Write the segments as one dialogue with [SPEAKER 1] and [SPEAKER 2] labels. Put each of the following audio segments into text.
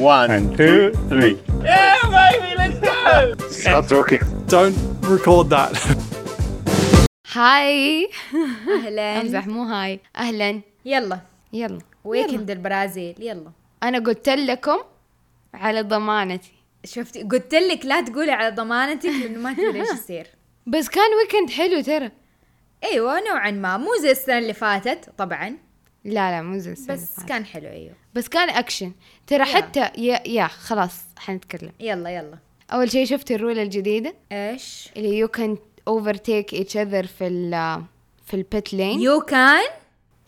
[SPEAKER 1] One.
[SPEAKER 2] And two, three.
[SPEAKER 1] Stop talking.
[SPEAKER 3] Don't record that.
[SPEAKER 4] هاي
[SPEAKER 5] اهلا
[SPEAKER 4] امزح مو هاي اهلا
[SPEAKER 5] يلا
[SPEAKER 4] يلا
[SPEAKER 5] ويكند البرازيل يلا
[SPEAKER 4] انا قلت لكم على ضمانتي
[SPEAKER 5] شفتي قلت لك لا تقولي على ضمانتك لانه ما تدري ايش يصير
[SPEAKER 4] بس كان ويكند حلو ترى
[SPEAKER 5] ايوه نوعا ما مو زي السنه اللي فاتت طبعا
[SPEAKER 4] لا لا مو زي السنة اللي
[SPEAKER 5] بس
[SPEAKER 4] فاتت.
[SPEAKER 5] كان حلو ايوه
[SPEAKER 4] بس كان اكشن ترى حتى يا يا خلاص حنتكلم
[SPEAKER 5] يلا يلا
[SPEAKER 4] اول شيء شفت الرول الجديده
[SPEAKER 5] ايش
[SPEAKER 4] اللي يو كان اوفرتيك ايتش اذر في ال في البيت لين
[SPEAKER 5] يو كان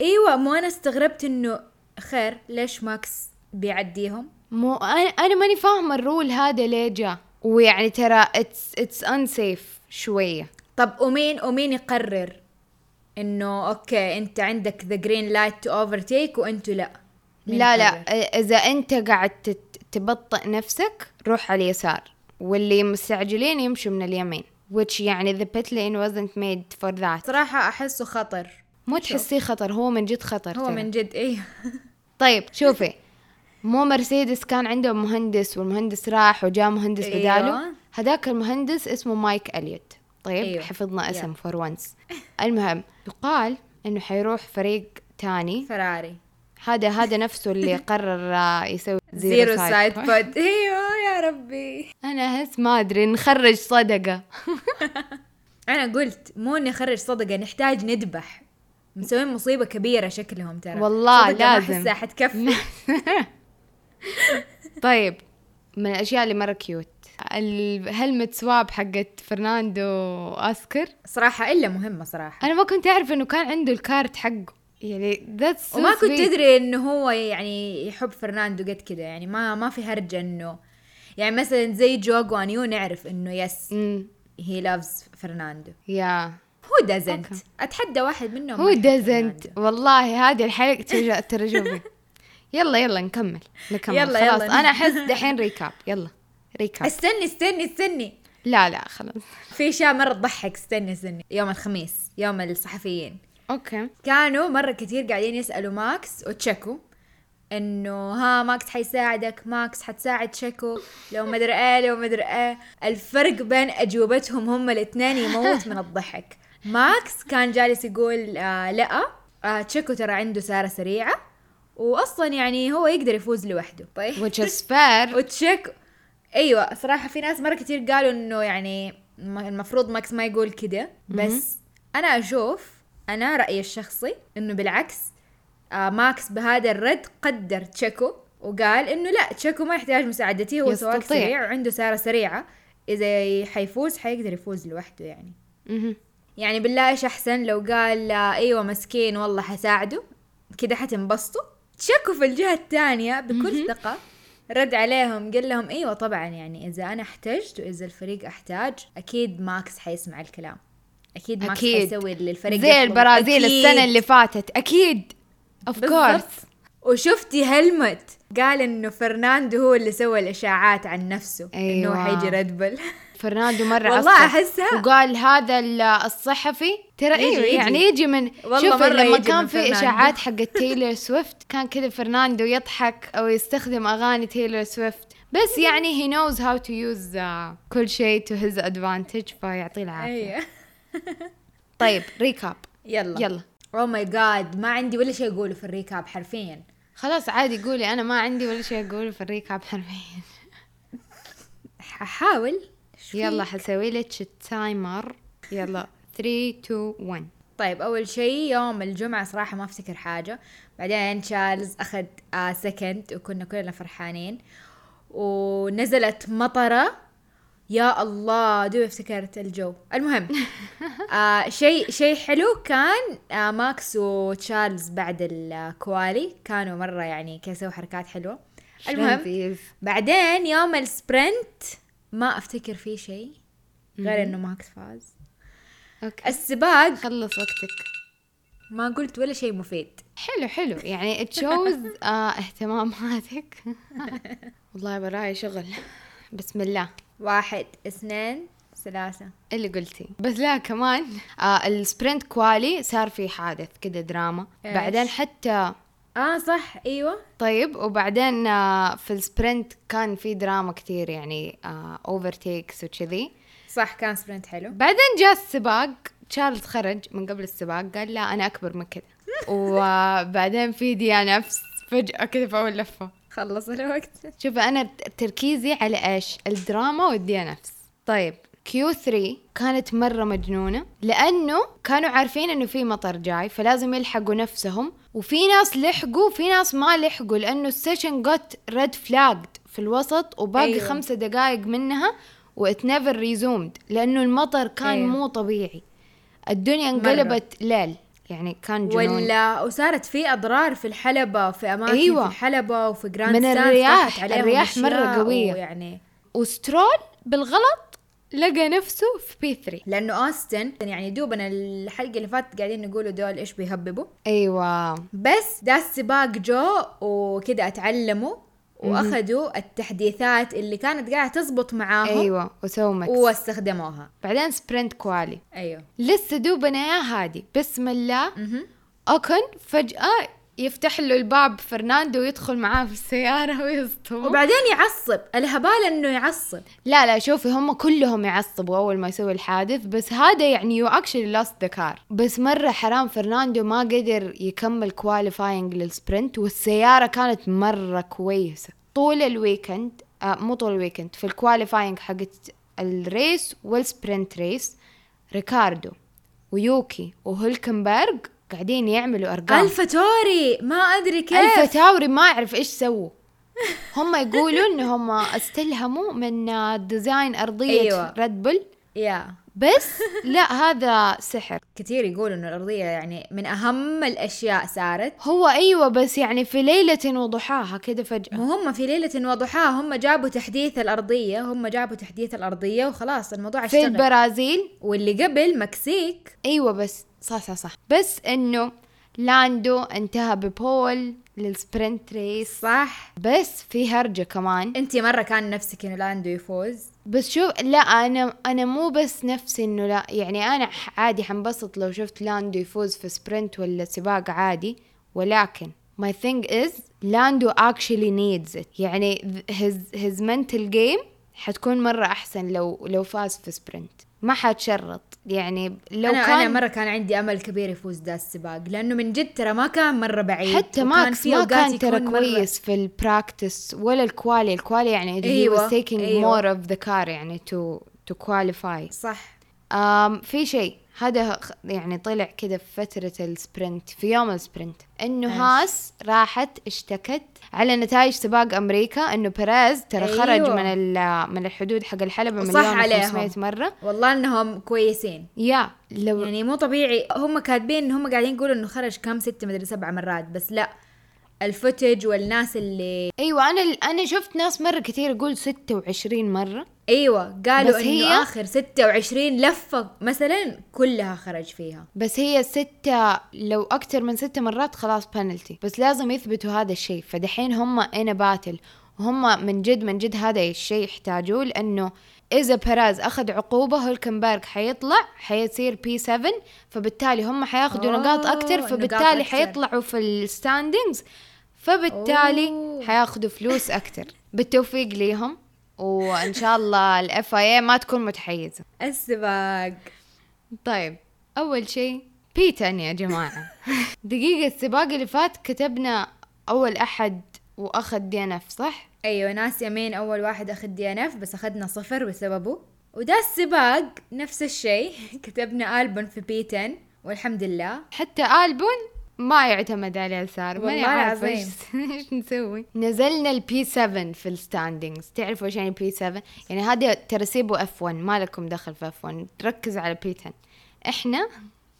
[SPEAKER 5] ايوه مو انا استغربت انه خير ليش ماكس بيعديهم
[SPEAKER 4] مو انا انا ماني فاهمه الرول هذا ليه جاء ويعني ترى اتس اتس انسيف شويه
[SPEAKER 5] طب ومين ومين يقرر انه اوكي انت عندك ذا جرين لايت تو اوفرتيك وانتوا لا مين
[SPEAKER 4] لا لا
[SPEAKER 5] يقرر؟
[SPEAKER 4] اذا انت قاعد تت- تبطئ نفسك روح على اليسار واللي مستعجلين يمشوا من اليمين which يعني the pit lane wasn't made for that
[SPEAKER 5] صراحه احسه خطر
[SPEAKER 4] مو تحسيه خطر هو من جد خطر
[SPEAKER 5] هو
[SPEAKER 4] ترى.
[SPEAKER 5] من جد ايوه
[SPEAKER 4] طيب شوفي مو مرسيدس كان عندهم مهندس والمهندس راح وجاء مهندس
[SPEAKER 5] أيوة.
[SPEAKER 4] بداله هذاك المهندس اسمه مايك اليوت طيب
[SPEAKER 5] أيوة.
[SPEAKER 4] أيوه. حفظنا اسم
[SPEAKER 5] Yeah.
[SPEAKER 4] فور وانس المهم يقال انه حيروح فريق تاني
[SPEAKER 5] فراري
[SPEAKER 4] هذا هذا نفسه اللي قرر آه، يسوي
[SPEAKER 5] زيرو سايد بود ايوه يا ربي
[SPEAKER 4] انا احس ما ادري نخرج صدقه
[SPEAKER 5] انا قلت مو اني اخرج صدقه نحتاج نذبح مسوين مصيبه كبيره شكلهم ترى
[SPEAKER 4] والله
[SPEAKER 5] صدقة ما
[SPEAKER 4] لازم.
[SPEAKER 5] احسها حتكفي
[SPEAKER 4] طيب من الاشياء اللي مره كيوت الهلمت سواب حقت فرناندو اسكر
[SPEAKER 5] صراحه الا مهمه صراحه
[SPEAKER 4] انا ما كنت اعرف انه كان عنده الكارت حقه يعني ذاتس
[SPEAKER 5] وما كنت تدري انه هو يعني يحب فرناندو قد كده يعني ما ما في هرجه انه يعني مثلا زي جوجو انيو نعرف انه يس هي لافز فرناندو
[SPEAKER 4] يا
[SPEAKER 5] هو دازنت اتحدى واحد منهم ما
[SPEAKER 4] هو
[SPEAKER 5] يحب
[SPEAKER 4] دزنت
[SPEAKER 5] فرناندو.
[SPEAKER 4] والله هذه الحلقه ترجع ترجمه يلا يلا نكمل نكمل
[SPEAKER 5] يلا، يلا.
[SPEAKER 4] خلاص انا احس دحين ريكاب يلا ريكاب
[SPEAKER 5] استني استني استني
[SPEAKER 4] لا لا خلاص
[SPEAKER 5] في اشياء مره تضحك استني استني يوم الخميس يوم الصحفيين
[SPEAKER 4] اوكي
[SPEAKER 5] كانوا مره كثير قاعدين يسالوا ماكس وتشيكو انه ها ماكس حيساعدك ماكس حتساعد تشيكو لو ما ادري ايه لو ما ادري ايه الفرق بين اجوبتهم هم الاثنين يموت من الضحك ماكس كان جالس يقول آه لا آه تشيكو ترى عنده سياره سريعه واصلا يعني هو يقدر يفوز لوحده طيب
[SPEAKER 4] which is fair
[SPEAKER 5] وتشيك ايوه صراحه في ناس مره كتير قالوا انه يعني م- المفروض ماكس ما يقول كده بس انا اشوف انا رايي الشخصي انه بالعكس آه ماكس بهذا الرد قدر تشيكو وقال انه لا تشيكو ما يحتاج مساعدتي هو سواق
[SPEAKER 4] يستطيع.
[SPEAKER 5] سريع وعنده سياره سريعه اذا حيفوز حيقدر يفوز لوحده يعني
[SPEAKER 4] مهم.
[SPEAKER 5] يعني بالله ايش احسن لو قال آه، ايوه مسكين والله حساعده كده حتنبسطوا تشكوا في الجهه الثانيه بكل ثقه رد عليهم قال لهم ايوه طبعا يعني اذا انا احتجت واذا الفريق احتاج اكيد ماكس حيسمع الكلام اكيد ماكس
[SPEAKER 4] أكيد.
[SPEAKER 5] حيسوي اللي الفريق
[SPEAKER 4] زي
[SPEAKER 5] يطلبه.
[SPEAKER 4] البرازيل
[SPEAKER 5] أكيد.
[SPEAKER 4] السنه اللي فاتت اكيد اوف
[SPEAKER 5] بالضبط.
[SPEAKER 4] كورس
[SPEAKER 5] وشفتي هلمت قال انه فرناندو هو اللي سوى الاشاعات عن نفسه انه
[SPEAKER 4] أيوة.
[SPEAKER 5] حيجي ريد بل
[SPEAKER 4] فرناندو مره
[SPEAKER 5] والله
[SPEAKER 4] عصب.
[SPEAKER 5] أحسها.
[SPEAKER 4] وقال هذا ال- الصحفي ترى
[SPEAKER 5] يجي-
[SPEAKER 4] ايوه
[SPEAKER 5] يجي.
[SPEAKER 4] يعني يجي من
[SPEAKER 5] والله
[SPEAKER 4] شوف
[SPEAKER 5] مرة
[SPEAKER 4] لما
[SPEAKER 5] يجي
[SPEAKER 4] كان
[SPEAKER 5] من
[SPEAKER 4] في
[SPEAKER 5] فرناندو.
[SPEAKER 4] اشاعات حقت تايلور سويفت كان كذا فرناندو يضحك او يستخدم اغاني تايلور سويفت بس يعني هي نوز هاو تو يوز uh, كل شيء تو هيز ادفانتج فيعطيه العافيه
[SPEAKER 5] ايوه
[SPEAKER 4] طيب ريكاب
[SPEAKER 5] يلا
[SPEAKER 4] يلا
[SPEAKER 5] او ماي جاد Oh ما عندي ولا شيء اقوله في الريكاب حرفيا
[SPEAKER 4] خلاص عادي قولي انا ما عندي ولا شيء اقوله في الريكاب حرفيا
[SPEAKER 5] ححاول شو
[SPEAKER 4] يلا
[SPEAKER 5] فيك؟
[SPEAKER 4] حسوي لك التايمر يلا 3 2 1
[SPEAKER 5] طيب اول شيء يوم الجمعه صراحه ما افتكر حاجه بعدين تشارلز اخذ آه سكند وكنا كلنا فرحانين ونزلت مطره يا الله دوي افتكرت الجو المهم آه شيء شيء حلو كان آه ماكس وتشارلز بعد الكوالي كانوا مره يعني كسوا حركات حلوه المهم
[SPEAKER 4] لذيذ.
[SPEAKER 5] بعدين يوم السبرنت ما افتكر فيه شيء غير انه ماكس فاز
[SPEAKER 4] اوكي
[SPEAKER 5] السباق
[SPEAKER 4] خلص وقتك
[SPEAKER 5] ما قلت ولا شيء مفيد
[SPEAKER 4] حلو حلو يعني تشوز آه اهتماماتك والله وراي شغل بسم الله
[SPEAKER 5] واحد اثنين ثلاثة
[SPEAKER 4] اللي قلتي بس لا كمان آه السبرنت كوالي صار في حادث كده دراما
[SPEAKER 5] إيش؟
[SPEAKER 4] بعدين حتى
[SPEAKER 5] اه صح ايوه
[SPEAKER 4] طيب وبعدين آه، في السبرنت كان في دراما كثير يعني اوفر تيكس وكذي
[SPEAKER 5] صح كان سبرنت حلو
[SPEAKER 4] بعدين جاء السباق تشارلز خرج من قبل السباق قال لا انا اكبر من كذا وبعدين في ديانا نفس فجأة كذا في أول لفة
[SPEAKER 5] خلص الوقت
[SPEAKER 4] شوف أنا تركيزي على إيش الدراما والدي نفس طيب كيو 3 كانت مرة مجنونة لأنه كانوا عارفين إنه في مطر جاي فلازم يلحقوا نفسهم وفي ناس لحقوا وفي ناس ما لحقوا لأنه السيشن جت ريد فلاجد في الوسط وباقي أيوه.
[SPEAKER 5] أيوة.
[SPEAKER 4] خمسة دقائق منها وات نيفر ريزومد لأنه المطر كان أيوه.
[SPEAKER 5] أيوة.
[SPEAKER 4] مو طبيعي الدنيا انقلبت ليل يعني كان جنون
[SPEAKER 5] ولا وصارت في اضرار في الحلبه في اماكن
[SPEAKER 4] أيوة.
[SPEAKER 5] أيوة. في الحلبه وفي جراند
[SPEAKER 4] من
[SPEAKER 5] ستاند
[SPEAKER 4] الرياح،
[SPEAKER 5] طاحت عليهم
[SPEAKER 4] الرياح
[SPEAKER 5] أشياء
[SPEAKER 4] مرة قوية.
[SPEAKER 5] ويعني
[SPEAKER 4] وسترول بالغلط لقى نفسه في بي 3
[SPEAKER 5] لانه اوستن يعني دوبنا الحلقه اللي فاتت قاعدين نقولوا دول ايش بيهببوا
[SPEAKER 4] ايوه
[SPEAKER 5] بس ده السباق جو وكده اتعلموا واخذوا التحديثات اللي كانت قاعده تزبط معاهم
[SPEAKER 4] ايوه وسووا مكس
[SPEAKER 5] واستخدموها
[SPEAKER 4] بعدين سبرنت كوالي
[SPEAKER 5] ايوه
[SPEAKER 4] لسه دوبنا يا هادي بسم الله
[SPEAKER 5] مهم.
[SPEAKER 4] اكن فجاه يفتح له الباب فرناندو ويدخل معاه في السياره ويصطم
[SPEAKER 5] وبعدين يعصب الهبال انه يعصب
[SPEAKER 4] لا لا شوفي هم كلهم يعصبوا اول ما يسوي الحادث بس هذا يعني يو اكشلي لاست ذا كار بس مره حرام فرناندو ما قدر يكمل كواليفاينج للسبرنت والسياره كانت مره كويسه طول الويكند آه مو طول الويكند في الكواليفاينج حقت الريس والسبرنت ريس ريكاردو ويوكي وهولكنبرغ قاعدين يعملوا ارقام
[SPEAKER 5] الفا توري ما ادري كيف
[SPEAKER 4] الفتاوري ما اعرف ايش سووا هم يقولوا ان هم استلهموا من ديزاين ارضيه أيوة.
[SPEAKER 5] أيوة.
[SPEAKER 4] ريد بول
[SPEAKER 5] يا
[SPEAKER 4] بس لا هذا سحر
[SPEAKER 5] كثير يقولوا انه الارضيه يعني من اهم الاشياء صارت
[SPEAKER 4] هو ايوه بس يعني في ليله وضحاها كده فجاه
[SPEAKER 5] وهم في ليلة وضحاها هم جابوا تحديث الأرضية هم جابوا تحديث الأرضية وخلاص الموضوع
[SPEAKER 4] في
[SPEAKER 5] اشتغل
[SPEAKER 4] البرازيل
[SPEAKER 5] واللي قبل مكسيك
[SPEAKER 4] ايوه بس صح صح صح بس انه لاندو انتهى ببول للسبرنت ريس
[SPEAKER 5] صح
[SPEAKER 4] بس في هرجه كمان
[SPEAKER 5] انت مرة كان نفسك انه لاندو يفوز
[SPEAKER 4] بس شوف لا انا انا مو بس نفسي انه لا يعني انا ح- عادي حنبسط لو شفت لاندو يفوز في سبرنت ولا سباق عادي ولكن my thing is لاندو actually needs it يعني th- his his mental game حتكون مرة احسن لو لو فاز في سبرنت ما حتشرط يعني لو
[SPEAKER 5] أنا,
[SPEAKER 4] كان
[SPEAKER 5] أنا مرة كان عندي أمل كبير يفوز ده السباق لأنه من جد ترى ما كان مرة بعيد
[SPEAKER 4] حتى
[SPEAKER 5] وكان
[SPEAKER 4] ماكس
[SPEAKER 5] في
[SPEAKER 4] ما
[SPEAKER 5] أوقات
[SPEAKER 4] كان ترى
[SPEAKER 5] يكون مرة-
[SPEAKER 4] كويس في البراكتس ولا الكوالي الكوالي يعني he
[SPEAKER 5] أيوة،
[SPEAKER 4] was taking
[SPEAKER 5] أيوة.
[SPEAKER 4] more of the car يعني to to qualify
[SPEAKER 5] صح
[SPEAKER 4] أم في شيء هذا خ- يعني طلع كذا في فترة السبرنت في يوم السبرنت انه
[SPEAKER 5] إيش؟
[SPEAKER 4] هاس راحت اشتكت على نتائج سباق امريكا انه بيريز ترى
[SPEAKER 5] أيوة.
[SPEAKER 4] خرج من ال- من الحدود حق الحلبة
[SPEAKER 5] وصح
[SPEAKER 4] مليون
[SPEAKER 5] عليهم.
[SPEAKER 4] و500 مرة
[SPEAKER 5] والله انهم كويسين
[SPEAKER 4] يا لو
[SPEAKER 5] يعني مو طبيعي هم كاتبين ان هم قاعدين يقولوا انه خرج كم ست مدري سبع مرات بس لا الفوتج والناس اللي
[SPEAKER 4] ايوه انا انا شفت ناس مرة كثير يقول 26 مرة
[SPEAKER 5] ايوه قالوا
[SPEAKER 4] بس
[SPEAKER 5] انه
[SPEAKER 4] هي-
[SPEAKER 5] اخر 26 لفه مثلا كلها خرج فيها
[SPEAKER 4] بس هي ستة لو أكتر من ستة مرات خلاص بنالتي بس لازم يثبتوا هذا الشيء فدحين هم إن باتل وهم من جد من جد هذا الشيء يحتاجوه لأنه إذا بيراز أخذ عقوبة هولكنبرغ حيطلع حيصير بي 7 فبالتالي هم حياخذوا
[SPEAKER 5] أوه،
[SPEAKER 4] نقاط أكتر
[SPEAKER 5] آه، نقاط
[SPEAKER 4] فبالتالي
[SPEAKER 5] أكتر.
[SPEAKER 4] حيطلعوا في الستاندينجز فبالتالي
[SPEAKER 5] أوه.
[SPEAKER 4] حياخذوا فلوس أكتر بالتوفيق ليهم وإن شاء الله الاف اي ما تكون متحيزة
[SPEAKER 5] السباق
[SPEAKER 4] طيب أول شيء بيتن يا جماعة دقيقة السباق اللي فات كتبنا أول أحد وأخذ دي إن إف صح؟
[SPEAKER 5] ايوه ناس يمين اول واحد اخذ دي ان اف بس اخذنا صفر بسببه وده السباق نفس الشيء كتبنا البن في بي 10 والحمد لله
[SPEAKER 4] حتى ألبون ما يعتمد عليه السار ماني
[SPEAKER 5] والله
[SPEAKER 4] عارفة
[SPEAKER 5] العظيم.
[SPEAKER 4] إيش- ايش نسوي نزلنا البي 7 في الستاندينجز تعرفوا ايش يعني بي 7 يعني هذا ترسيبه اف 1 ما لكم دخل في اف 1 ركزوا على بي 10 احنا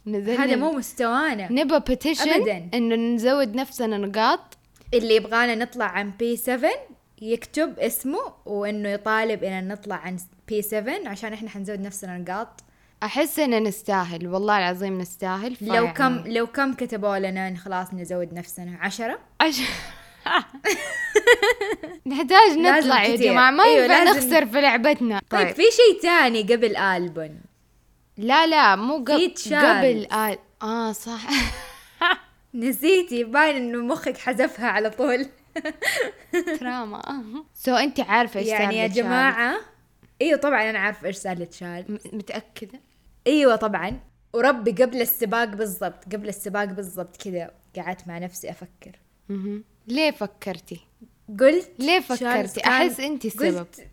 [SPEAKER 4] نزلنا
[SPEAKER 5] هذا مو مستوانا
[SPEAKER 4] نبى بيتيشن
[SPEAKER 5] أبداً.
[SPEAKER 4] انه نزود نفسنا نقاط
[SPEAKER 5] اللي يبغانا نطلع عن بي 7 يكتب اسمه وانه يطالب ان نطلع عن بي 7 عشان احنا حنزود نفسنا نقاط
[SPEAKER 4] احس ان نستاهل والله العظيم نستاهل
[SPEAKER 5] لو كم لو كم كتبوا لنا إن خلاص نزود نفسنا عشرة
[SPEAKER 4] عش... نحتاج
[SPEAKER 5] لازم
[SPEAKER 4] نطلع يا
[SPEAKER 5] كتير.
[SPEAKER 4] جماعة ما
[SPEAKER 5] أيوة،
[SPEAKER 4] ينفع
[SPEAKER 5] لازم.
[SPEAKER 4] نخسر في لعبتنا
[SPEAKER 5] طيب, في شيء تاني قبل البن
[SPEAKER 4] لا لا مو آه، قبل
[SPEAKER 5] تشارلز.
[SPEAKER 4] قبل آل... اه صح
[SPEAKER 5] نسيتي باين انه مخك حذفها على طول
[SPEAKER 4] تراما سو انت عارفه ايش
[SPEAKER 5] يعني يا
[SPEAKER 4] سالفة شارلز.
[SPEAKER 5] جماعه ايوه طبعا انا عارفه ايش سالت شال
[SPEAKER 4] م- متاكده
[SPEAKER 5] ايوه طبعا وربي قبل السباق بالضبط قبل السباق بالضبط كذا قعدت مع نفسي افكر
[SPEAKER 4] مهم. ليه فكرتي
[SPEAKER 5] قلت
[SPEAKER 4] ليه
[SPEAKER 5] شارلز
[SPEAKER 4] فكرتي
[SPEAKER 5] كان-
[SPEAKER 4] احس انت السبب
[SPEAKER 5] قلت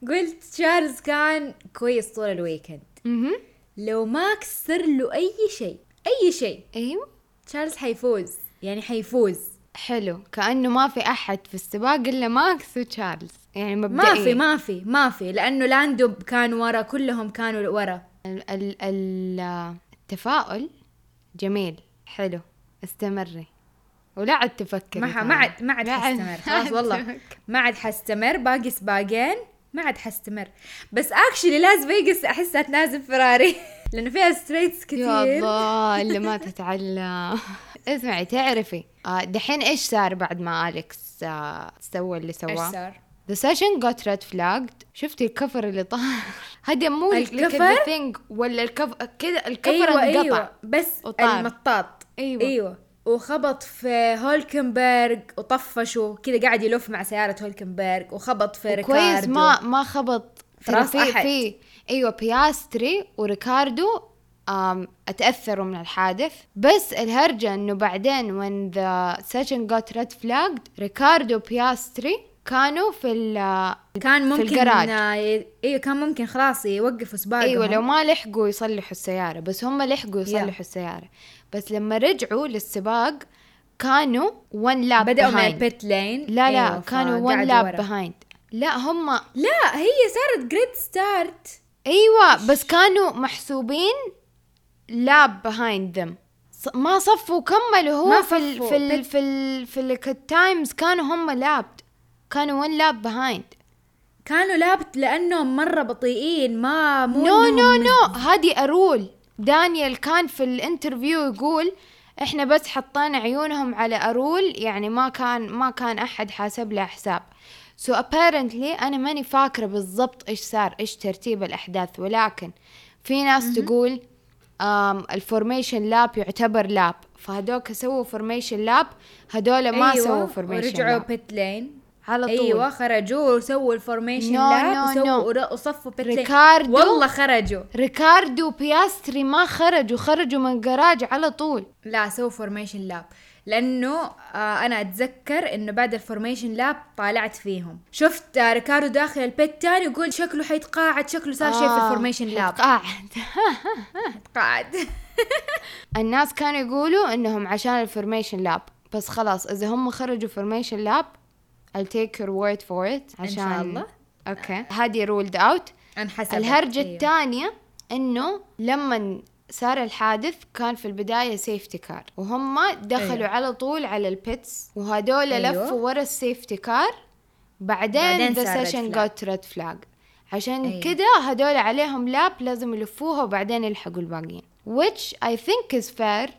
[SPEAKER 5] قلت شارلز كان كويس طول الويكند
[SPEAKER 4] مهم.
[SPEAKER 5] لو ما كسر له اي شيء اي شيء
[SPEAKER 4] ايوه
[SPEAKER 5] تشارلز حيفوز يعني حيفوز
[SPEAKER 4] حلو كانه ما في احد في السباق الا ماكس وتشارلز يعني مبدئيا
[SPEAKER 5] ما في ما في ما في لانه لاندو كان ورا كلهم كانوا ورا
[SPEAKER 4] ال- ال- ال- التفاؤل جميل حلو استمري ولا عاد تفكري
[SPEAKER 5] ما ح-
[SPEAKER 4] ترى.
[SPEAKER 5] ما عاد ما عاد
[SPEAKER 4] لا عاد-
[SPEAKER 5] حستمر خلاص والله ما عاد حستمر باقي سباقين ما عاد حستمر بس اكشلي لاس فيغاس احسها تنازل فراري لانه فيها ستريتس كثير
[SPEAKER 4] يا الله اللي ما تتعلم اسمعي تعرفي آه، دحين ايش صار بعد ما اليكس آه، سوى اللي
[SPEAKER 5] ايش
[SPEAKER 4] سواه؟
[SPEAKER 5] صار؟
[SPEAKER 4] ذا سيشن جوت ريد فلاجد شفتي الكفر اللي طاح هذا مو
[SPEAKER 5] الكفر؟
[SPEAKER 4] ثينج ولا الكفر كذا الكفر
[SPEAKER 5] ايوه
[SPEAKER 4] انقطع
[SPEAKER 5] ايوه بس
[SPEAKER 4] وطار.
[SPEAKER 5] المطاط
[SPEAKER 4] أيوة.
[SPEAKER 5] ايوه وخبط في هولكنبرغ وطفشه كذا قاعد يلف مع سياره هولكنبرغ وخبط في ريكاردو
[SPEAKER 4] كويس ما ما خبط
[SPEAKER 5] في
[SPEAKER 4] ترى
[SPEAKER 5] راس أحد.
[SPEAKER 4] في ايوه بياستري وريكاردو آم اتاثروا من الحادث بس الهرجه انه بعدين وين ذا سيشن جوت ريد فلاجد ريكاردو بياستري كانوا في ال
[SPEAKER 5] آه، كان
[SPEAKER 4] في
[SPEAKER 5] ممكن
[SPEAKER 4] الجراج.
[SPEAKER 5] آه، ي- ايوه كان ممكن خلاص يوقفوا سباقهم
[SPEAKER 4] ايوه لو ما لحقوا يصلحوا السياره بس هم لحقوا يصلحوا
[SPEAKER 5] Yeah.
[SPEAKER 4] السياره بس لما رجعوا للسباق كانوا ون لاب
[SPEAKER 5] بدأوا من البيت لين
[SPEAKER 4] لا لا
[SPEAKER 5] أيوة،
[SPEAKER 4] كانوا ون
[SPEAKER 5] فقعدوا
[SPEAKER 4] لاب
[SPEAKER 5] ورا.
[SPEAKER 4] بيهايند لا هم
[SPEAKER 5] لا هي صارت جريد ستارت
[SPEAKER 4] ايوه بس كانوا محسوبين لاب بيهايند ذم ما صفوا وكملوا هو
[SPEAKER 5] ما
[SPEAKER 4] في ال
[SPEAKER 5] صفوا.
[SPEAKER 4] في ال في ال في ال- التايمز كانوا هم لابد كانوا ون لاب بيهايند
[SPEAKER 5] كانوا لابت لانهم مره بطيئين ما مو
[SPEAKER 4] نو
[SPEAKER 5] إنهم
[SPEAKER 4] نو
[SPEAKER 5] مز-
[SPEAKER 4] نو هذه ارول دانيال كان في الانترفيو يقول احنا بس حطينا عيونهم على ارول يعني ما كان ما كان احد حاسب له حساب سو so apparently انا ماني فاكره بالضبط ايش صار ايش ترتيب الاحداث ولكن في ناس تقول آم الفورميشن لاب يعتبر لاب فهدوك سووا فورميشن لاب هذول ما
[SPEAKER 5] أيوة،
[SPEAKER 4] سووا فورميشن
[SPEAKER 5] ورجعوا
[SPEAKER 4] لاب
[SPEAKER 5] بيت لين
[SPEAKER 4] على طول
[SPEAKER 5] ايوه خرجوا وسووا الفورميشن
[SPEAKER 4] No,
[SPEAKER 5] لاب
[SPEAKER 4] no,
[SPEAKER 5] وسووا
[SPEAKER 4] no.
[SPEAKER 5] ور- وصفوا بيت لين
[SPEAKER 4] ريكاردو-
[SPEAKER 5] والله خرجوا
[SPEAKER 4] ريكاردو وبياستري ما خرجوا خرجوا من جراج على طول
[SPEAKER 5] لا سووا فورميشن لاب لانه آه انا اتذكر انه بعد الفورميشن لاب طالعت فيهم شفت آه ريكاردو داخل البيت تاني يقول شكله حيتقاعد شكله صار شيء في
[SPEAKER 4] آه،
[SPEAKER 5] الفورميشن لاب
[SPEAKER 4] قاعد
[SPEAKER 5] حيتقاعد
[SPEAKER 4] الناس كانوا يقولوا انهم عشان الفورميشن لاب بس خلاص اذا هم خرجوا فورميشن لاب I'll take your word for it
[SPEAKER 5] إن
[SPEAKER 4] عشان
[SPEAKER 5] شاء الله.
[SPEAKER 4] اوكي هذه رولد اوت
[SPEAKER 5] انحسبت
[SPEAKER 4] الهرجة
[SPEAKER 5] أيوة.
[SPEAKER 4] الثانية انه لما صار الحادث كان في البداية سيفتي كار وهم دخلوا
[SPEAKER 5] أيوة.
[SPEAKER 4] أيوه. على طول على البيتس وهدول
[SPEAKER 5] أيوه.
[SPEAKER 4] أيوه. لفوا ورا السيفتي كار بعدين
[SPEAKER 5] بعدين
[SPEAKER 4] ذا
[SPEAKER 5] صار red
[SPEAKER 4] سيشن
[SPEAKER 5] flag.
[SPEAKER 4] جوت ريد فلاج عشان
[SPEAKER 5] أيوه.
[SPEAKER 4] أيوه. كده هدول عليهم لاب لازم يلفوها وبعدين يلحقوا الباقيين which I think is fair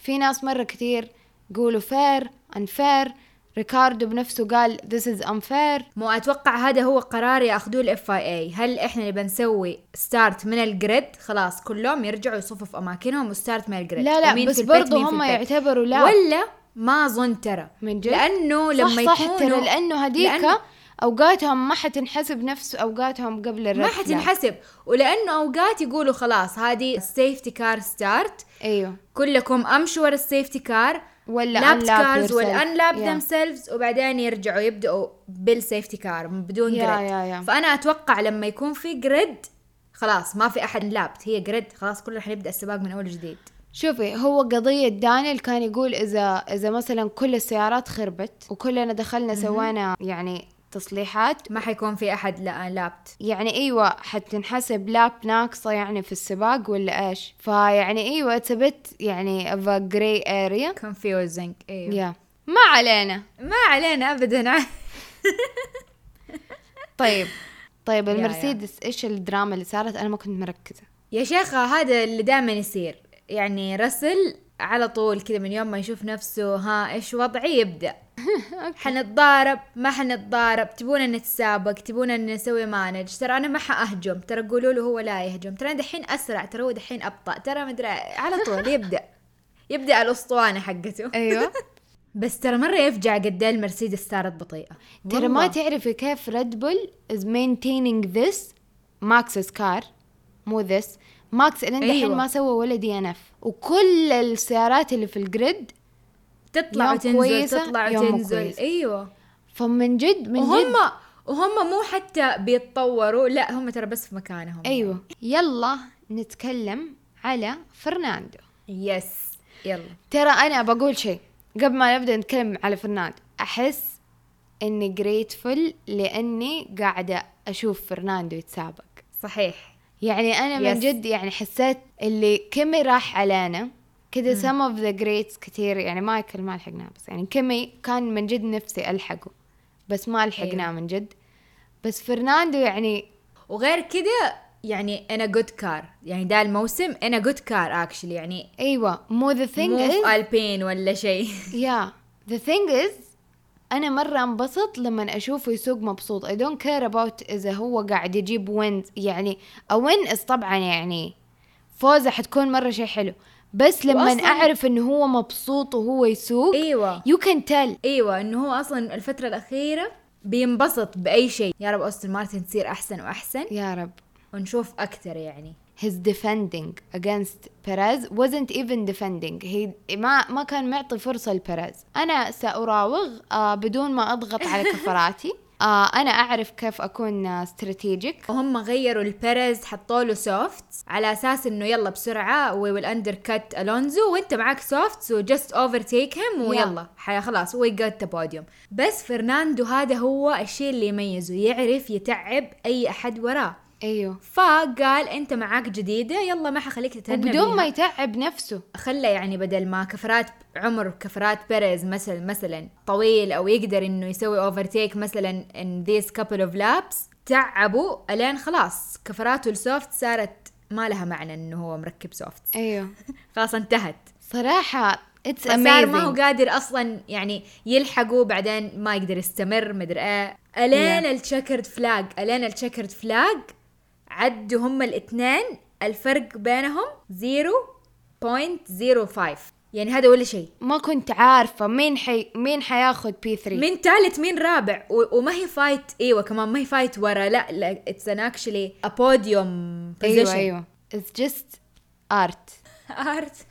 [SPEAKER 4] في ناس مرة كتير يقولوا fair unfair ريكاردو بنفسه قال this is unfair
[SPEAKER 5] مو اتوقع هذا هو قرار ياخذوه الاف اي اي هل احنا اللي بنسوي ستارت من الجريد خلاص كلهم يرجعوا يصفوا في اماكنهم وستارت من الجريد
[SPEAKER 4] لا لا
[SPEAKER 5] ومين
[SPEAKER 4] بس
[SPEAKER 5] في البيت،
[SPEAKER 4] برضو
[SPEAKER 5] مين في
[SPEAKER 4] هم
[SPEAKER 5] البيت.
[SPEAKER 4] يعتبروا لا
[SPEAKER 5] ولا ما اظن ترى
[SPEAKER 4] من جد؟
[SPEAKER 5] لانه لما
[SPEAKER 4] صح صح
[SPEAKER 5] يكونوا
[SPEAKER 4] ترى لانه هذيك
[SPEAKER 5] لأنه
[SPEAKER 4] اوقاتهم ما حتنحسب نفس اوقاتهم قبل الرد
[SPEAKER 5] ما حتنحسب ولانه اوقات يقولوا خلاص هذه السيفتي كار ستارت
[SPEAKER 4] ايوه
[SPEAKER 5] كلكم امشوا ورا السيفتي كار
[SPEAKER 4] ولا unlap
[SPEAKER 5] لابت كارز
[SPEAKER 4] yourself.
[SPEAKER 5] والانلاب
[SPEAKER 4] Yeah.
[SPEAKER 5] ذيم سيلفز وبعدين يرجعوا يبداوا بالسيفتي كار بدون
[SPEAKER 4] Yeah,
[SPEAKER 5] جريد
[SPEAKER 4] yeah, yeah.
[SPEAKER 5] فانا اتوقع لما يكون في جريد خلاص ما في احد لابت هي جريد خلاص كلنا حنبدا السباق من اول جديد
[SPEAKER 4] شوفي هو قضية دانيال كان يقول إذا إذا مثلا كل السيارات خربت وكلنا دخلنا سوينا يعني تصليحات
[SPEAKER 5] ما حيكون في احد لا لابت
[SPEAKER 4] يعني ايوه حتنحسب لاب ناقصه يعني في السباق ولا ايش فيعني ايوه تبت يعني of a gray area
[SPEAKER 5] كونفيوزنج ايوه
[SPEAKER 4] yeah. ما علينا
[SPEAKER 5] ما علينا ابدا
[SPEAKER 4] طيب طيب
[SPEAKER 5] يا- يا.
[SPEAKER 4] المرسيدس ايش الدراما اللي صارت انا ما كنت مركزه
[SPEAKER 5] يا شيخة هذا اللي دائما يصير يعني رسل على طول كذا من يوم ما يشوف نفسه ها ايش وضعي يبدا حنتضارب ما حنتضارب تبونا نتسابق تبونا نسوي مانج ترى انا ما حاهجم ترى قولوا له هو لا يهجم ترى أنا دحين اسرع ترى هو دحين ابطا ترى مدري على طول يبدا يبدا الاسطوانه حقته
[SPEAKER 4] ايوه
[SPEAKER 5] بس ترى مره يفجع قد ايه المرسيدس صارت بطيئه
[SPEAKER 4] ترى ما
[SPEAKER 5] والله.
[SPEAKER 4] تعرفي كيف ريد بول از maintaining this ماكس's كار مو ذس ماكس لين دحين
[SPEAKER 5] أيوة.
[SPEAKER 4] ما سوى ولا دي ان اف وكل السيارات اللي في الجريد
[SPEAKER 5] تطلع
[SPEAKER 4] يوم
[SPEAKER 5] وتنزل
[SPEAKER 4] كويسة،
[SPEAKER 5] تطلع
[SPEAKER 4] يوم مو
[SPEAKER 5] وتنزل
[SPEAKER 4] كويسة.
[SPEAKER 5] ايوه
[SPEAKER 4] فمن جد من جد
[SPEAKER 5] وهم وهم مو حتى بيتطوروا لا هم ترى بس في مكانهم
[SPEAKER 4] ايوه يلا نتكلم على فرناندو
[SPEAKER 5] يس يلا
[SPEAKER 4] ترى انا بقول شيء قبل ما نبدا نتكلم على فرناندو احس اني جريتفل لاني قاعده اشوف فرناندو يتسابق
[SPEAKER 5] صحيح
[SPEAKER 4] يعني انا من
[SPEAKER 5] Yes.
[SPEAKER 4] جد يعني حسيت اللي كيمي راح علينا كذا سم اوف ذا جريتس كثير يعني مايكل ما لحقناه بس يعني كيمي كان من جد نفسي الحقه بس ما لحقناه من جد بس فرناندو يعني
[SPEAKER 5] وغير كده يعني انا جود كار يعني ده الموسم انا جود كار اكشلي يعني
[SPEAKER 4] ايوه مو ذا
[SPEAKER 5] مو
[SPEAKER 4] ثينج
[SPEAKER 5] في
[SPEAKER 4] از
[SPEAKER 5] البين ولا شيء
[SPEAKER 4] يا ذا ثينج از انا مره انبسط لما اشوفه يسوق مبسوط اي دونت كير اباوت اذا هو قاعد يجيب وينز يعني اوين از طبعا يعني فوزه حتكون مره شيء حلو بس لما
[SPEAKER 5] وأصلاً-
[SPEAKER 4] اعرف انه هو مبسوط وهو يسوق
[SPEAKER 5] ايوه
[SPEAKER 4] يو كان تيل
[SPEAKER 5] ايوه انه هو اصلا الفتره الاخيره بينبسط باي شيء يا رب اوستن مارتن تصير احسن واحسن
[SPEAKER 4] يا رب
[SPEAKER 5] ونشوف اكثر يعني
[SPEAKER 4] his defending against Perez wasn't even defending he ما ما كان معطي فرصة لبيريز أنا سأراوغ آه بدون ما أضغط على كفراتي آه أنا أعرف كيف أكون آه، استراتيجيك
[SPEAKER 5] وهم غيروا البيريز حطوا له سوفت على اساس انه يلا بسرعه وي ويل اندر كات الونزو وانت معك سوفت سو جاست اوفر تيك هيم ويلا ح- خلاص وي جت ذا بوديوم بس فرناندو هذا هو الشيء اللي يميزه يعرف يتعب اي احد وراه
[SPEAKER 4] أيوه
[SPEAKER 5] فقال انت معاك جديده يلا ما حخليك تتهنى بيها.
[SPEAKER 4] وبدون ما يتعب نفسه
[SPEAKER 5] خلى يعني بدل ما كفرات عمر كفرات بيريز مثلا مثلا طويل او يقدر انه يسوي اوفرتيك مثلا ان ذيس كابل اوف لابس تعبوا الين خلاص كفراته السوفت صارت ما لها معنى انه هو مركب سوفت
[SPEAKER 4] أيوه
[SPEAKER 5] خلاص انتهت
[SPEAKER 4] صراحة it's
[SPEAKER 5] فصار ما هو
[SPEAKER 4] amazing
[SPEAKER 5] قادر اصلا يعني يلحقه بعدين ما يقدر يستمر مدري ايه الين التشيكرد فلاج الين التشيكرد فلاج عدوا هم الاثنين الفرق بينهم 0.05 يعني هذا ولا شيء
[SPEAKER 4] ما كنت عارفة مين حي مين حياخد P3
[SPEAKER 5] مين ثالث مين رابع و- وما هي فايت ايوه كمان ما هي فايت ورا لا لا اتس ان اكشلي ا بوديوم
[SPEAKER 4] أيوه أيوه it's just art
[SPEAKER 5] ارت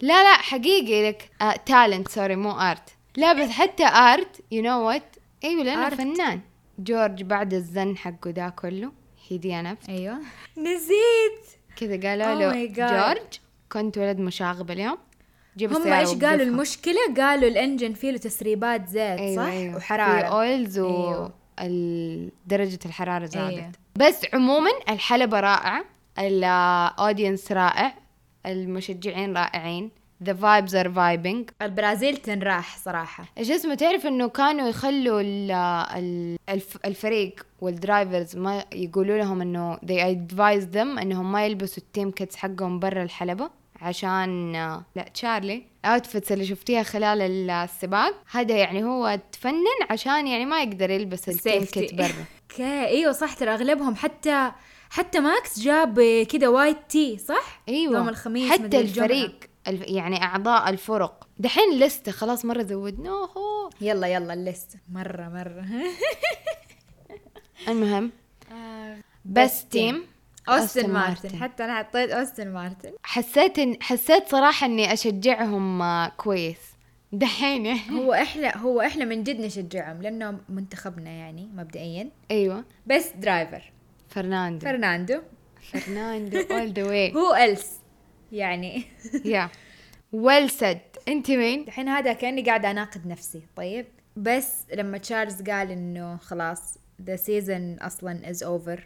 [SPEAKER 4] لا لا حقيقي لك تالنت سوري مو ارت لا بس حتى ارت يو نو وات ايوه لانه
[SPEAKER 5] Art.
[SPEAKER 4] فنان جورج بعد الزن حقه ذا كله هي دي انا
[SPEAKER 5] ايوه نسيت
[SPEAKER 4] كذا قالوا
[SPEAKER 5] Oh
[SPEAKER 4] له
[SPEAKER 5] my God.
[SPEAKER 4] جورج كنت ولد مشاغب اليوم جيب
[SPEAKER 5] هم
[SPEAKER 4] السيارة
[SPEAKER 5] ايش
[SPEAKER 4] ووقفها.
[SPEAKER 5] قالوا المشكله قالوا الانجن فيه له تسريبات زيت أيوة صح أيوة
[SPEAKER 4] في
[SPEAKER 5] وحراره
[SPEAKER 4] اويلز
[SPEAKER 5] أيوه.
[SPEAKER 4] ودرجة الحرارة زادت
[SPEAKER 5] أيوه.
[SPEAKER 4] أيوه. بس عموما الحلبة رائعة الاودينس رائع المشجعين رائعين ذا فايبز ار فايبنج
[SPEAKER 5] البرازيل تنراح صراحه
[SPEAKER 4] ايش اسمه تعرف انه كانوا يخلوا ال- ال- الف- الفريق والدرايفرز ما يقولوا لهم انه they advise them انهم ما يلبسوا التيم كيتس حقهم برا الحلبة عشان لا تشارلي الاوتفيتس اللي شفتيها خلال السباق هذا يعني هو تفنن عشان يعني ما يقدر يلبس التيم
[SPEAKER 5] السيفتي.
[SPEAKER 4] كيت برا
[SPEAKER 5] اوكي ايوه صح ترى اغلبهم حتى حتى ماكس جاب كده وايت تي صح
[SPEAKER 4] ايوه
[SPEAKER 5] يوم الخميس
[SPEAKER 4] حتى
[SPEAKER 5] مدري الجمعة.
[SPEAKER 4] الفريق الف- يعني اعضاء الفرق دحين لسته خلاص مره زودناه
[SPEAKER 5] يلا يلا الليست مره مره
[SPEAKER 4] المهم
[SPEAKER 5] بس
[SPEAKER 4] بس
[SPEAKER 5] تيم.
[SPEAKER 4] تيم
[SPEAKER 5] اوستن مارتن حتى انا حطيت اوستن مارتن
[SPEAKER 4] إيه. حسيت إن حسيت صراحة إني أشجعهم آه، كويس دحين يعني.
[SPEAKER 5] هو احنا هو احنا من جد نشجعهم لانه منتخبنا يعني مبدئيا
[SPEAKER 4] أيوة
[SPEAKER 5] بس
[SPEAKER 4] إيه.
[SPEAKER 5] درايفر
[SPEAKER 4] فرناندو
[SPEAKER 5] فرناندو
[SPEAKER 4] فرناندو أول ذا واي
[SPEAKER 5] هو الس يعني
[SPEAKER 4] يا ويل سد أنت مين؟
[SPEAKER 5] الحين هذا كاني قاعده اناقض نفسي طيب بس لما تشارلز قال انه خلاص ذا سيزون اصلا از اوفر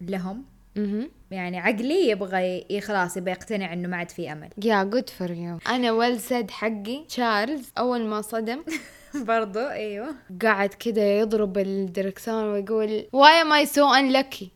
[SPEAKER 5] لهم
[SPEAKER 4] مهم.
[SPEAKER 5] يعني عقلي يبغى ي- خلاص يبغى يقتنع انه ما عاد في امل
[SPEAKER 4] يا جود فور يو أنا ويل سد حقي تشارلز أول ما صدم
[SPEAKER 5] برضو ايوه
[SPEAKER 4] قاعد كده يضرب الدركسون ويقول واي ام اي سو انلكي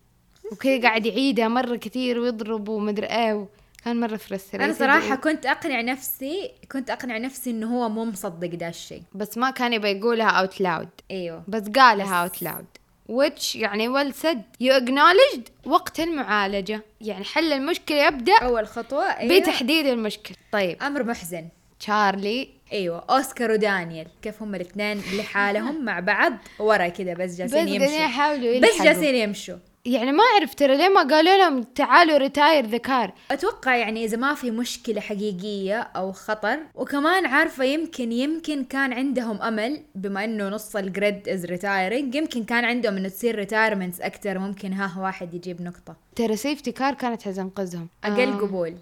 [SPEAKER 4] وكذا قاعد يعيدها مرة كثير ويضرب ومدري ايه كان مرة فرستريتد
[SPEAKER 5] انا صراحه
[SPEAKER 4] إيه؟
[SPEAKER 5] كنت اقنع نفسي كنت اقنع نفسي انه هو مو مصدق ده الشيء
[SPEAKER 4] بس ما كان يبي يقولها اوت لاود
[SPEAKER 5] ايوه
[SPEAKER 4] بس قالها اوت لاود which يعني well said you acknowledged وقت المعالجة يعني حل المشكلة يبدأ
[SPEAKER 5] اول خطوه أيوة.
[SPEAKER 4] بتحديد المشكلة طيب
[SPEAKER 5] امر محزن
[SPEAKER 4] تشارلي
[SPEAKER 5] ايوه اوسكار ودانيال كيف هم الاثنين لحالهم مع بعض ورا كذا بس
[SPEAKER 4] بس
[SPEAKER 5] جالسين
[SPEAKER 4] قاعدين
[SPEAKER 5] يمشوا
[SPEAKER 4] يحاولوا
[SPEAKER 5] بس
[SPEAKER 4] يلحقوا.
[SPEAKER 5] جالسين يمشوا
[SPEAKER 4] يعني ما أعرف ترى ليه ما قالوا لهم تعالوا ريتاير ذا كار
[SPEAKER 5] اتوقع يعني اذا ما في مشكله حقيقيه او خطر وكمان عارفه يمكن يمكن كان عندهم امل بما انه نص الجريد از ريتايرنج يمكن كان عندهم انه تصير ريتايرمنتس اكثر ممكن ها واحد يجيب نقطه
[SPEAKER 4] ترى سيفتي كار كانت حتنقذهم
[SPEAKER 5] اقل
[SPEAKER 4] آه.
[SPEAKER 5] قبول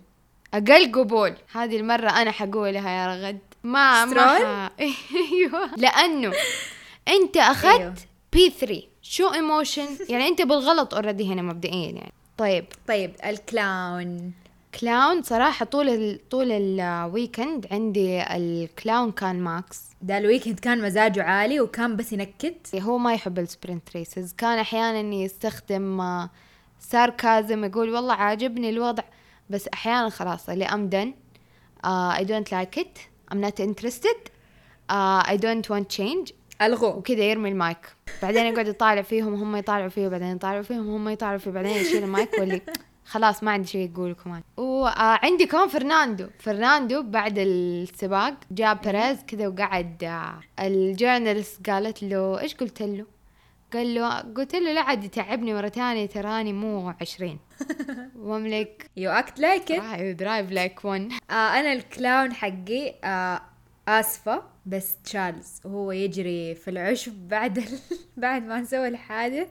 [SPEAKER 4] اقل قبول هذه المره انا حقولها يا رغد ما ما
[SPEAKER 5] سترول؟
[SPEAKER 4] ح- ايوه لانه انت اخذت
[SPEAKER 5] أيوة.
[SPEAKER 4] بي 3 شو ايموشن يعني انت بالغلط اوريدي هنا مبدئيا يعني طيب
[SPEAKER 5] طيب الكلاون
[SPEAKER 4] كلاون صراحه طول ال... طول الويكند عندي الكلاون كان ماكس
[SPEAKER 5] ده الويكند كان مزاجه عالي وكان بس ينكت
[SPEAKER 4] هو ما يحب السبرنت ريسز كان احيانا يستخدم آه، ساركازم يقول والله عاجبني الوضع بس احيانا خلاص اللي آه، ام دن اي دونت لايك ات ام نوت انترستد اي دونت آه، want تشينج
[SPEAKER 5] الغوه
[SPEAKER 4] وكذا يرمي المايك بعدين يقعد يطالع فيهم هم يطالعوا فيه بعدين يطالعوا فيهم هم يطالعوا فيه بعدين يشيل المايك واللي خلاص ما عندي شيء يقول كمان وعندي آه، كمان فرناندو فرناندو بعد السباق جاء بيريز كذا وقعد آه، الجورنالست قالت له ايش قلت له قال له قلت له لا عاد يتعبني مرة ثانية تراني مو عشرين واملك
[SPEAKER 5] يو اكت لايك ات
[SPEAKER 4] درايف لايك ون
[SPEAKER 5] انا آه، الكلاون حقي آه اسفه بس تشارلز وهو يجري في العشب بعد ال... بعد ما سوى الحادث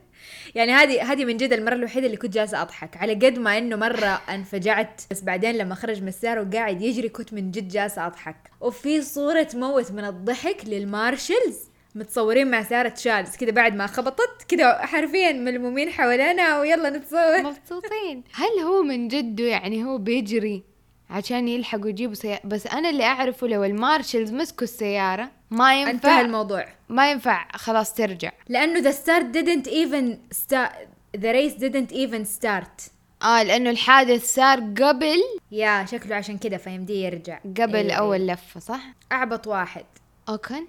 [SPEAKER 5] يعني هذه هذه من جد المره الوحيده اللي كنت جالسه اضحك على قد ما انه مره انفجعت بس بعدين لما خرج من السياره وقاعد يجري كنت من جد جالسه اضحك وفي صوره تموت من الضحك للمارشلز متصورين مع سارة تشارلز كذا بعد ما خبطت كذا حرفيا ملمومين حوالينا ويلا نتصور
[SPEAKER 4] مبسوطين هل هو من جده يعني هو بيجري عشان يلحقوا يجيبوا سيارة بس أنا اللي أعرفه لو المارشلز مسكوا السيارة ما
[SPEAKER 5] انتهى
[SPEAKER 4] ينفع
[SPEAKER 5] الموضوع
[SPEAKER 4] ما ينفع خلاص ترجع
[SPEAKER 5] لانه ذا ستارت didn't even start ذا ريس didn't even start
[SPEAKER 4] آه لأنه الحادث صار قبل
[SPEAKER 5] يا شكله عشان كده فيمديه يرجع
[SPEAKER 4] قبل
[SPEAKER 5] أيوة،
[SPEAKER 4] أيوة أول
[SPEAKER 5] أيوة.
[SPEAKER 4] لفة صح؟
[SPEAKER 5] اعبط واحد
[SPEAKER 4] أوكن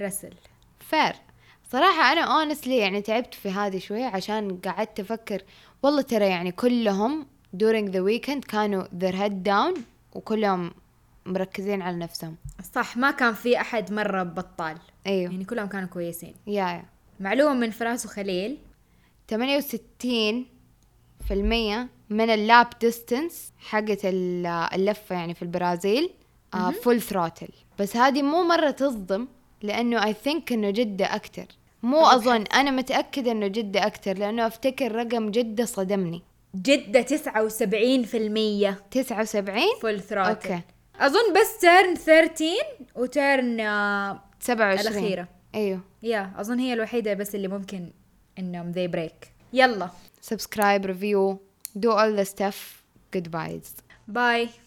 [SPEAKER 5] رسل
[SPEAKER 4] فير صراحة أنا اونستلي يعني تعبت في هذه شوية عشان قعدت أفكر والله ترى يعني كلهم during the weekend كانوا their head down وكلهم مركزين على نفسهم
[SPEAKER 5] صح ما كان في احد مره بطال
[SPEAKER 4] أيوه
[SPEAKER 5] يعني كلهم كانوا كويسين
[SPEAKER 4] يا يا
[SPEAKER 5] معلومه من فراس وخليل
[SPEAKER 4] 68 في المية من اللاب ديستنس حقت ال- اللفة يعني في البرازيل فول ثروتل بس هذه مو مرة تصدم لأنه أي ثينك إنه جدة أكتر مو أظن أنا متأكدة إنه جدة أكتر لأنه أفتكر رقم جدة صدمني
[SPEAKER 5] جده 79%
[SPEAKER 4] 79
[SPEAKER 5] فول ثروتل
[SPEAKER 4] أوكي.
[SPEAKER 5] اظن بس تيرن 13 وتيرن
[SPEAKER 4] 27
[SPEAKER 5] الأخيرة.
[SPEAKER 4] أيوه
[SPEAKER 5] يا اظن آه، هي الوحيده بس اللي ممكن انهم ذي بريك يلا
[SPEAKER 4] سبسكرايب ريفيو دو أول ذا ستاف جود بايز
[SPEAKER 5] باي